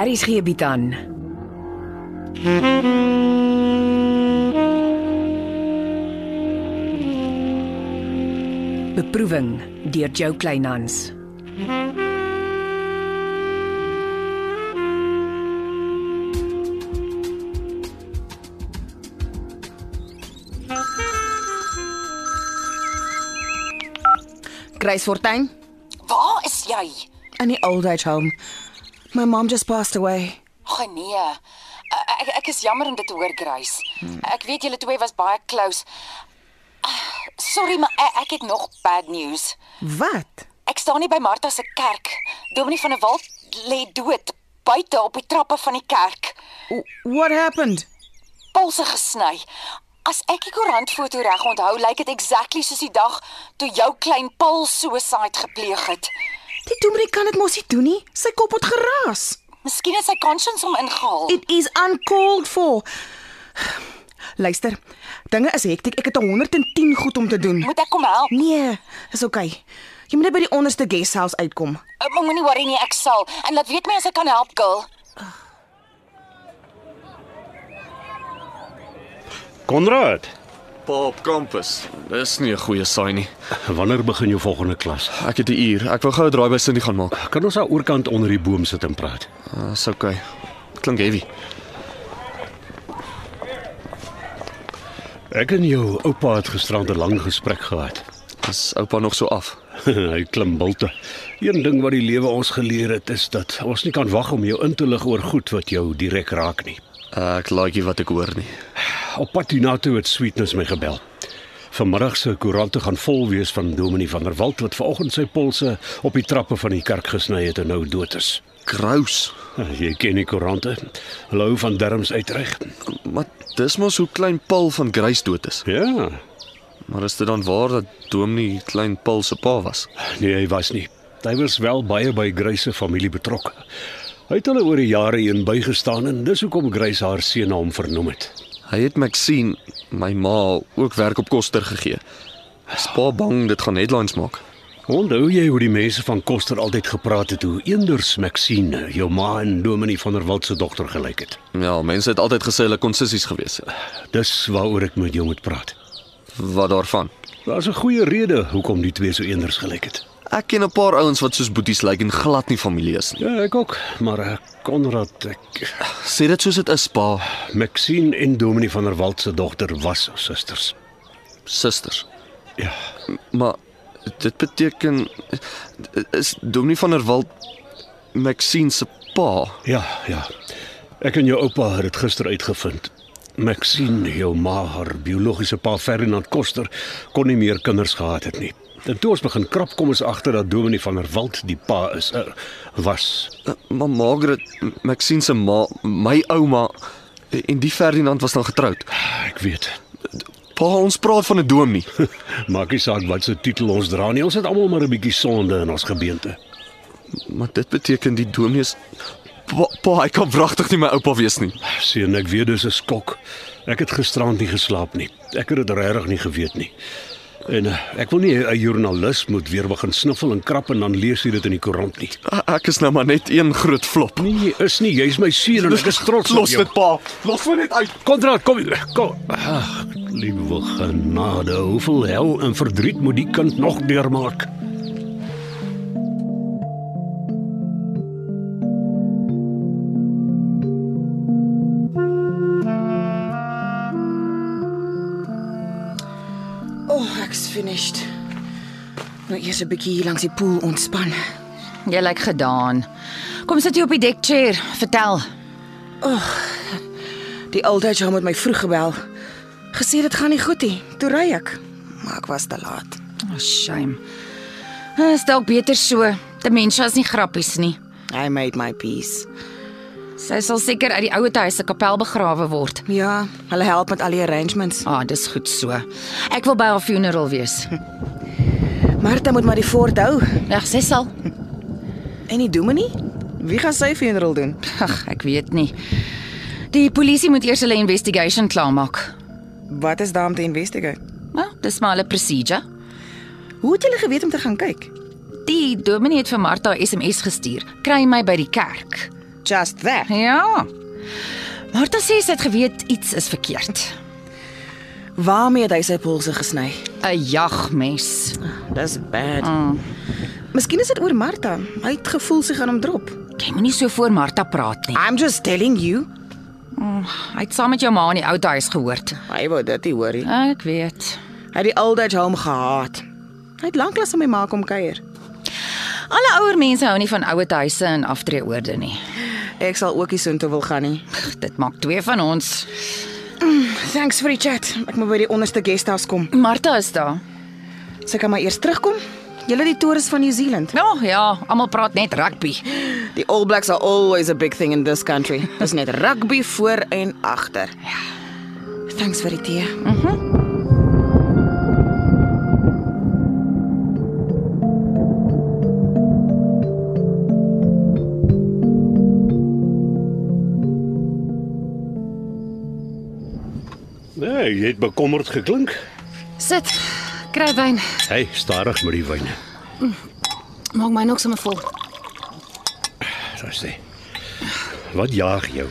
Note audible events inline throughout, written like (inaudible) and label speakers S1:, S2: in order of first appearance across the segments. S1: Aries gee bied aan. Beproeving deur Jo Kleinhans.
S2: Grace Fortuin
S3: Waar is jy?
S2: in the old age home. My mom just passed away.
S3: Ag nee. Ek ek- ek is jammer om dit te hoor, Grace. Ek weet julle twee was baie close. Ah, Sorry, maar ek, ek het nog bad news.
S2: Wat?
S3: Ek staan nie by Martha se kerk. Dominee van der Walt lê dood buite op die trappe van die kerk.
S2: W- What happened?
S3: Polse gesny. As ek die koerantfoto reg onthou, lyk dit exactly soos die dag toe jou klein Paul suicide gepleeg het.
S2: Die dominee kan dit mos nie doen nie. Sy kop het geraas.
S3: Miskien het sy conscience hom ingehaal.
S2: It is uncalled for. Luister, dinge is hektiek. Ek het 110 goed om te doen.
S3: Moet ek kom help?
S2: Nee, is oukei. Okay. Jy moet net by die onderste guest house uitkom.
S3: Ek moenie worry nie, ek sal. En laat weet my as ek kan help, girl.
S4: Konrad,
S5: Pa op kampus. Dis nie 'n goeie sign nie.
S4: wanneer begin jou volgende klas?
S5: Ek het 'n uur. Ek wil gou 'n draai by Cindy gaan maak.
S4: Kan ons daar oorkant onder die boom sit en praat?
S5: Dis uh, okay. Klink heavy.
S4: Ek en jou oupa het gisterand 'n lang gesprek gehad. (laughs)
S5: Dis oupa nog so af.
S4: Hy klim bulte. Een ding wat die lewe ons geleer het is dat ons nie kan wag om jou in te lig oor goed wat jou direk raak nie.
S5: Ek like nie wat ek hoor nie.
S4: Op pad hiernatoe het Sweetness my gebel. Vanmiddag se koerante gaan vol wees van Dominee van der Walt wat vanoggend sy polse op die trappe van die kerk gesny het en nou dood is.
S5: Kraus.
S4: Jy ken die koerante. Hulle hou van derms uitreg.
S5: Maar dis mos hoe klein Paul van Grace dood is.
S4: Ja,
S5: Maar is dit dan waar dat Dominee klein Paul se pa was?
S4: Nee, hy was nie. Hy was wel baie by Grace se familie betrokke. Hy het hulle oor die jare heen bygestaan en dis hoekom Grace haar seun na hom vernoem het.
S5: Hy het Maxine, my ma, ook werk op Koster gegee. Is pa bang dit gaan headlines maak?
S4: Onthou jy hoe die mense van Koster altyd gepraat het hoe eenders Maxine, jou ma en Dominee van der Walt se dogter gelyk het?
S5: Ja, mense het altyd gesê hulle kon sissies gewees het.
S4: Dis waaroor ek met jou moet praat.
S5: Wat daarvan?
S4: Daar's 'n goeie rede hoekom die twee so eenders gelyk het.
S5: Ek ken 'n paar ouens wat soos boeties lyk en glad nie familie is nie.
S4: Ja, ek ook, maar eh, Konrad, ek
S5: Sê dit soos dit is, pa.
S4: Maxine en Dominee van der Walt se dogter was susters.
S5: Susters.
S4: Ja.
S5: Maar dit beteken is Dominee van der Walt Maxine se pa.
S4: Ja, ja. Ek en jou oupa het dit gister uitgevind. Maxine, jou ma, haar biologiese pa Ferdinand Koster kon nie meer kinders gehad het nie. En toe ons begin krap kom ons agter dat Dominee van der Walt die pa is er, was.
S5: Eh, Maar Margaret Maxine se ma, my ouma en die Ferdinand was dan getroud.
S4: Ek weet.
S5: Pa, ons praat van 'n dominee. (laughs)
S4: Maak nie saak wat se titel ons dra nie. Ons het almal maar 'n bietjie sonde in ons gebeente.
S5: Maar dit beteken die dominee is pa, pa, hy kan wragtig nie my oupa wees nie.
S4: Seun, ek weet dis 'n skok. Ek het gisterand nie geslaap nie. Ek het dit regtig nie geweet nie. En eh, ek wil nie 'n joernalis moet weer begin sniffel en krap en dan lees jy dit in die koerant nie.
S5: Ek is nou maar net een groot flop.
S4: Nee, jy is nie, jy's my seun en ek is trots op
S5: Los
S4: jou.
S5: dit, pa. Los my net uit.
S4: Konrad, kom hier. Kom. Ag, liewe genade, hoeveel hel en verdriet moet die kind nog deurmaak?
S2: O, oh, ek's finished. Nou eers 'n bietjie hier langs die poel ontspan.
S1: Jy lyk gedaan. Kom sit jy op die dekchair. Vertel.
S2: Oh, Die old age home het my vroeg gebel. Gesê dit gaan nie goed nie. Toe ry ek, maar ek was te laat.
S1: Oh, shame. Is dalk beter so. Demensie is nie grappies nie.
S2: I made my peace.
S1: Sy sal seker uit die ouer huis se kapel begrawe word.
S2: Ja, hulle help met al die arrangements.
S1: Ah, dis goed so. Ek wil by haar funeral wees.
S2: Martha moet maar die fort hou.
S1: Ag, sy sal.
S2: En die dominee? Wie gaan sy funeral doen?
S1: Ag, ek weet nie. Die polisie moet eers hulle investigation klaarmaak.
S2: Wat is daar om te investigate?
S1: Nou, dis maar hulle procedure.
S2: Hoe het julle geweet om te gaan kyk?
S1: Die dominee het vir Martha 'n SMS gestuur. Kry my by die kerk.
S2: just that.
S1: Ja. Martha sê sy het geweet iets is verkeerd.
S2: Waarmee het hy sy polse gesny?
S1: 'n Jagmes.
S2: Dis bad. Mm. Miskien is dit oor Martha. Hy het gevoel sy gaan hom drop.
S1: Jy moenie so voor Martha praat nie.
S2: I'm just telling you. Mm,
S1: Hy het saam met jou ma in die ou huis gehoor.
S2: Hy wou dit nie hoor nie.
S1: Ek weet.
S2: Hy het die old age home gehaat. Hy het lanklaas aan my ma kom kuier.
S1: Alle ouer mense hou nie van ouer huise en aftreeoorde nie.
S2: Ek sal ook nie soontoe wil gaan nie.
S1: Dit maak twee van ons.
S2: Thanks vir die chat. Ek moet by die onderste guesthouse kom.
S1: Martha is daar.
S2: Sy kan maar eers terugkom. Julle die toeriste van Nieu-Seeland.
S1: Ja, ja, almal praat net rugby.
S2: Die All Blacks are always a big thing in this country. Dis net rugby voor en agter. Ja. Thanks vir die tee.
S4: Nee, jy het bekommerd geklink.
S6: Sit. Kry wyn.
S4: Hey, stadig met die wyne.
S6: Maak my nog sommer vol.
S4: Dis sê. Wat jaag jou?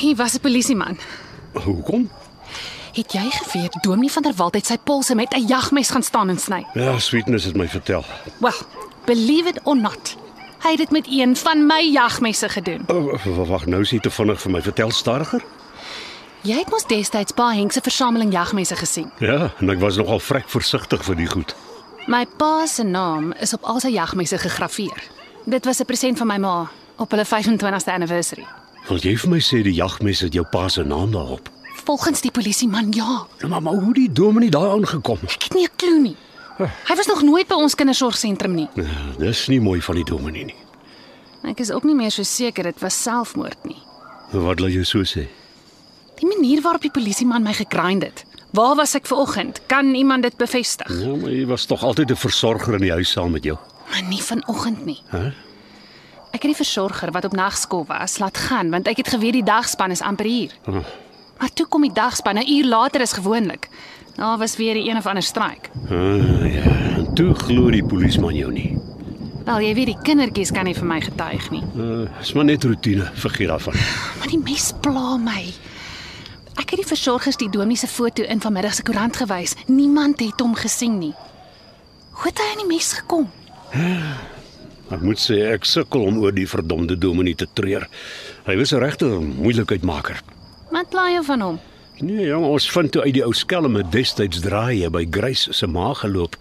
S6: Hier was 'n polisieman.
S4: Hoekom?
S6: Het jy geweet Dominee van der Walt het sy polse met 'n jagmes gaan staan en sny?
S4: Ja, sweetness het my vertel.
S6: Well, believe it or not. Hy het dit met een van my jagmesse gedoen.
S4: Oh, w- Wag, nou is jy te vinnig vir my. Vertel stadiger.
S6: Jy het mos destyds pa Henk se versameling jagmesse gesien.
S4: Ja, en ek was nogal vrek versigtig vir die goed.
S6: My pa se naam is op al sy jagmesse gegraveer. Dit was 'n present van my ma op hulle 25ste anniversary.
S4: Wil jy vir my sê die jagmes het jou pa se naam daarop?
S6: Volgens die polisieman ja,
S4: Nou, Maar maar hoe die dominee daar aangekom?
S6: ek het nie 'n klou nie. Hy was nog nooit by ons kindersorgsentrum nie.
S4: Ja, dis nie mooi van die dominee nie.
S6: Ek is ook nie meer so seker dit was selfmoord nie.
S4: Wat laat jou so sê?
S6: Die manier waarop die polisieman my gegrind het. Waar was ek vanoggend? Kan iemand dit bevestig?
S4: Ja, maar jy was tog altyd 'n versorger in die huis saam met jou.
S6: Maar nie vanoggend nie.
S4: Hæ?
S6: Ek het die versorger wat op nagskool was laat gaan want ek het geweet die dagspan is amper hier.
S4: Ah,
S6: Maar toe kom die dagspan 'n uur later as gewoonlik. Daar was weer die een of ander stryk.
S4: ah ja, en toe glo die polisieman jou nie.
S6: Wel, jy weet die kindertjies kan nie vir my getuig nie.
S4: Uh, is maar net rotine, vergeet daarvan.
S6: Maar die mes pla my. Ek het die versorgers die dominee se foto in vanmiddag se koerant gewys. Niemand het hom gesien nie. Hoe het hy aan die mes gekom?
S4: Ek moet sê ek sukkel om oor die verdomde dominee te treur. Hy was 'n regte moeilikheidmaker.
S6: Wat pla jy van hom?
S4: Nee, ja, maar ons vind toe uit die ou skelme destyds draaie by Grace se ma geloop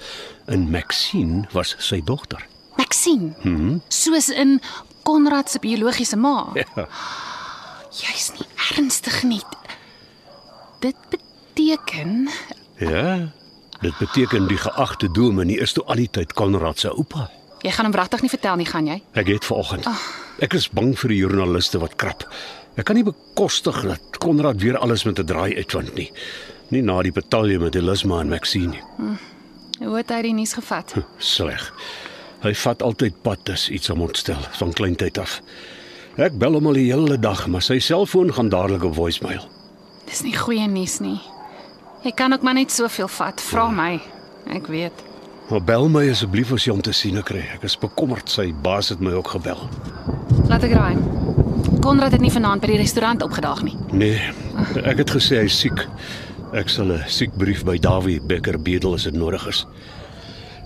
S4: en Maxine was sy dogter.
S6: Maxine. Mm -hmm. Soos in Konrad se biologiese ma.
S4: Ja.
S6: Jy's nie ernstig nie. Dit beteken
S4: Ja. Dit beteken die geagte dominee is toe al die tyd Konrad se oupa.
S6: jy gaan hom regtig nie vertel nie, gaan jy?
S4: Ek het vanoggend. Ek is bang vir die joernaliste wat krap. Ek kan nie bekostig dat Konrad weer alles met 'n draai uitwind nie. Nie na die betalje met Elisma en Maxine nie.
S6: Hoe het hy die nuus gevat?
S4: Sleg. Hy vat altyd pad as iets om ontstel van kleintyd af. Ek bel hom al die hele dag, maar sy selfoon gaan dadelik op voicemail.
S6: Dis nie goeie nuus nie. Jy kan ook maar net soveel vat, vra my. Ek weet.
S4: Maar bel my asseblief as jy hom te sien kry. Ek is bekommerd sy baas het my ook gebel.
S6: Laat ek raai. Konrad het nie vanaand by die restaurant opgedaag nie.
S4: Nee, ek het gesê hy is siek. Ek sal 'n siekbrief by Dawie Becker bedel as dit nodig is.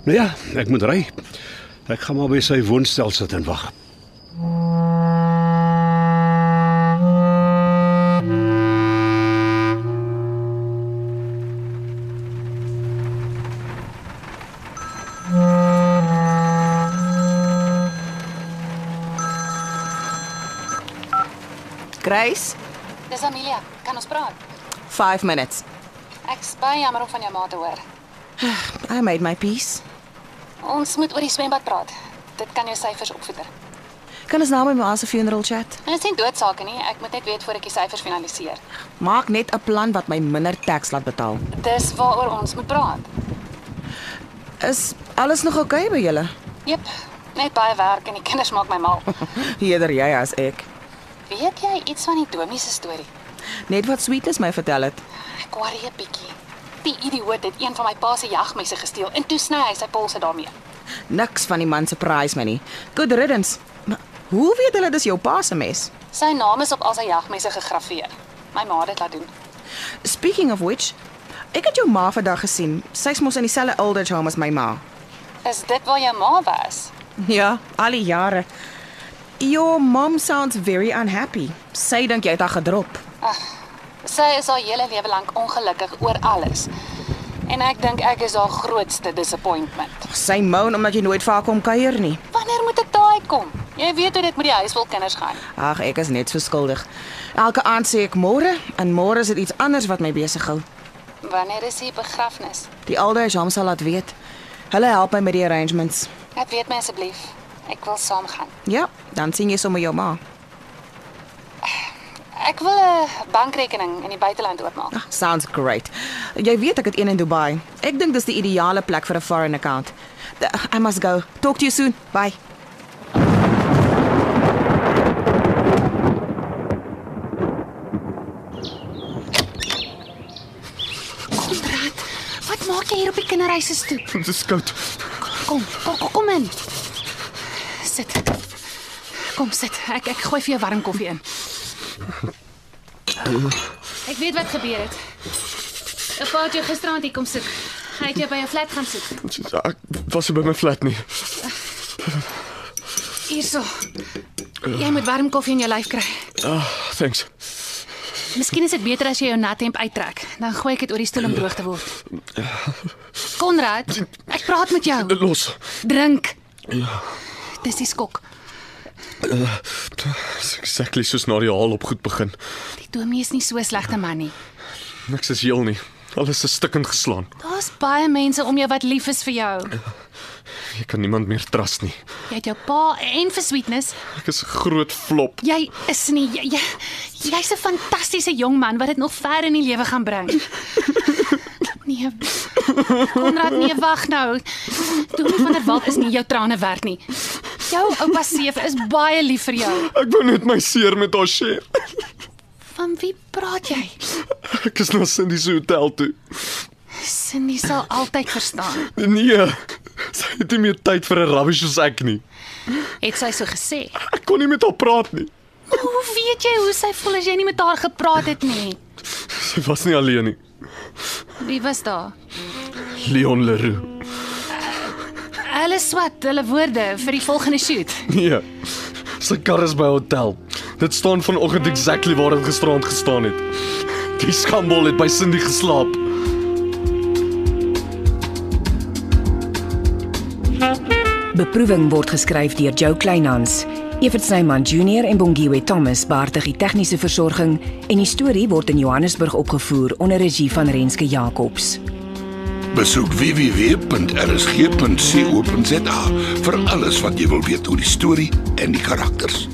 S4: Nou ja, ek moet ry. Ek gaan maar by sy woonstel sit en wag.
S2: Grace,
S3: Dis Amelia, kan ons praat?
S2: 5 minutes.
S3: Ek's baie jammer om van jou ma te hoor.
S2: I made my peace.
S3: Ons moet oor die swembad praat. Dit kan jou syfers opvoeder.
S2: Kan ons nou met my ma se funeral chat?
S3: En dit is nie doodsake nie. Ek moet net weet voor ek die syfers finaliseer.
S2: Maak net 'n plan wat my minder teks laat betaal.
S3: Dis waaroor ons moet praat.
S2: Is alles nog oukei okay by julle? (laughs)
S3: Jep, net baie werk en die kinders maak my mal.
S2: Eerder jy as ek.
S3: Weet jy iets van die dominee se storie?
S2: Net wat Sweetness my vertel het.
S3: Ek worry 'n bietjie. Die idioot het een van my pa se jagmesse gesteel en toe sny hy sy polse daarmee.
S2: Niks van die man se prize my nie. Good riddance. Maar hoe weet hulle dis jou pa se mes?
S3: Sy naam is op al sy jagmesse gegraveer. My ma het dit laat doen.
S2: Speaking of which, ek het jou ma vandag gesien. Sy's mos in dieselfde oldage home as my ma.
S3: Is dit waar jou ma was?
S2: Ja, al die jare. Your mom sounds very unhappy. Sy dink jy het haar gedrop.
S3: Sy is haar hele lewe lank ongelukkig oor alles. En ek dink ek is haar grootste disappointment.
S2: Sy moan omdat jy nooit vir haar kom kuier nie.
S3: Wanneer moet ek daai kom? Jy weet hoe dit met die huisvolkinders gaan.
S2: Ag, ek is net so skuldig. Elke aand sê ek môre en môre is dit iets anders wat my besig hou.
S3: Wanneer is die begrafnis?
S2: Die ouders hom sal laat weet. Hulle help my met die arrangements.
S3: Ek weet my asseblief. Ek wil saamgaan.
S2: Ja, dan sien jy sommer jou ma.
S3: Ek wil 'n bankrekening in die buiteland oopmaak.
S2: Ag, Ah, sounds great. Jy weet ek het een in Dubai. Ek dink dis die ideale plek vir 'n foreign account. D- I must go. Talk to you soon. Bye.
S6: Konrad, wat maak jy hier op die kinderreis se stoep?
S5: Dit is koud.
S6: Kom, kom, kom, kom in. Sit. Kom sit. Ek ek gooi vir jou warm koffie in. Ek weet wat gebeur het. 'n Pa het jou gisteraand hier kom soek. Hy het jou by jou flat gaan soek.
S5: Ek was nie by my flat nie.
S6: Hierso. Jy moet warm koffie in jou lyf kry.
S5: Ah, thanks.
S6: Miskien is dit beter as jy jou nat hemp uittrek. Dan gooi ek dit oor die stoel om droog te word. Konrad, ek praat met jou.
S5: Los.
S6: Drink. Dis die skok.
S5: Dis exactly soos na die haal op goed begin.
S6: Die dominee is nie so 'n slegte man nie.
S5: Niks is heel nie. Alles is stukkend geslaan.
S6: Daar's baie mense om jou wat lief is vir jou.
S5: Jy kan niemand meer trust nie.
S6: Jy het jou pa en vir sweetness.
S5: Ek is 'n groot flop.
S6: Jy is nie jy jy- jy's 'n fantastiese jong man wat dit nog ver in die lewe gaan bring. (laughs) Nee. Konrad, nee, wag nou. Dominee van der Walt is nie jou trane werd nie. Jou oupa Seef is baie lief vir jou.
S5: Ek wou net my seer met haar share.
S6: Van wie praat jy?
S5: Ek is na Cindy se hotel toe.
S6: Cindy sal altyd verstaan.
S5: Nee. Sy het nie meer tyd vir 'n rubbish soos ek nie.
S6: Het sy so gesê?
S5: Ek kon nie met haar praat nie.
S6: Hoe weet jy hoe sy voel as jy nie met haar gepraat het nie?
S5: Sy was nie alleen nie.
S6: Wie was daar?
S5: Leon Leroux.
S6: Hulle swat hulle woorde vir die volgende shoot.
S5: Nee. Sy kar is by haar hotel. Dit staan vanoggend exactly waar dit gisterand gestaan het. Die skambol het by Cindy geslaap.
S7: Beproeving word geskryf deur Jo Kleinhans. Evert Snyman Junior en Bongwe Thomas baartig die tegniese versorging en die storie word in Johannesburg opgevoer onder regie van Renske Jacobs.
S8: Besoek www.rsg.co.za vir alles wat jy wil weet oor die storie en die karakters.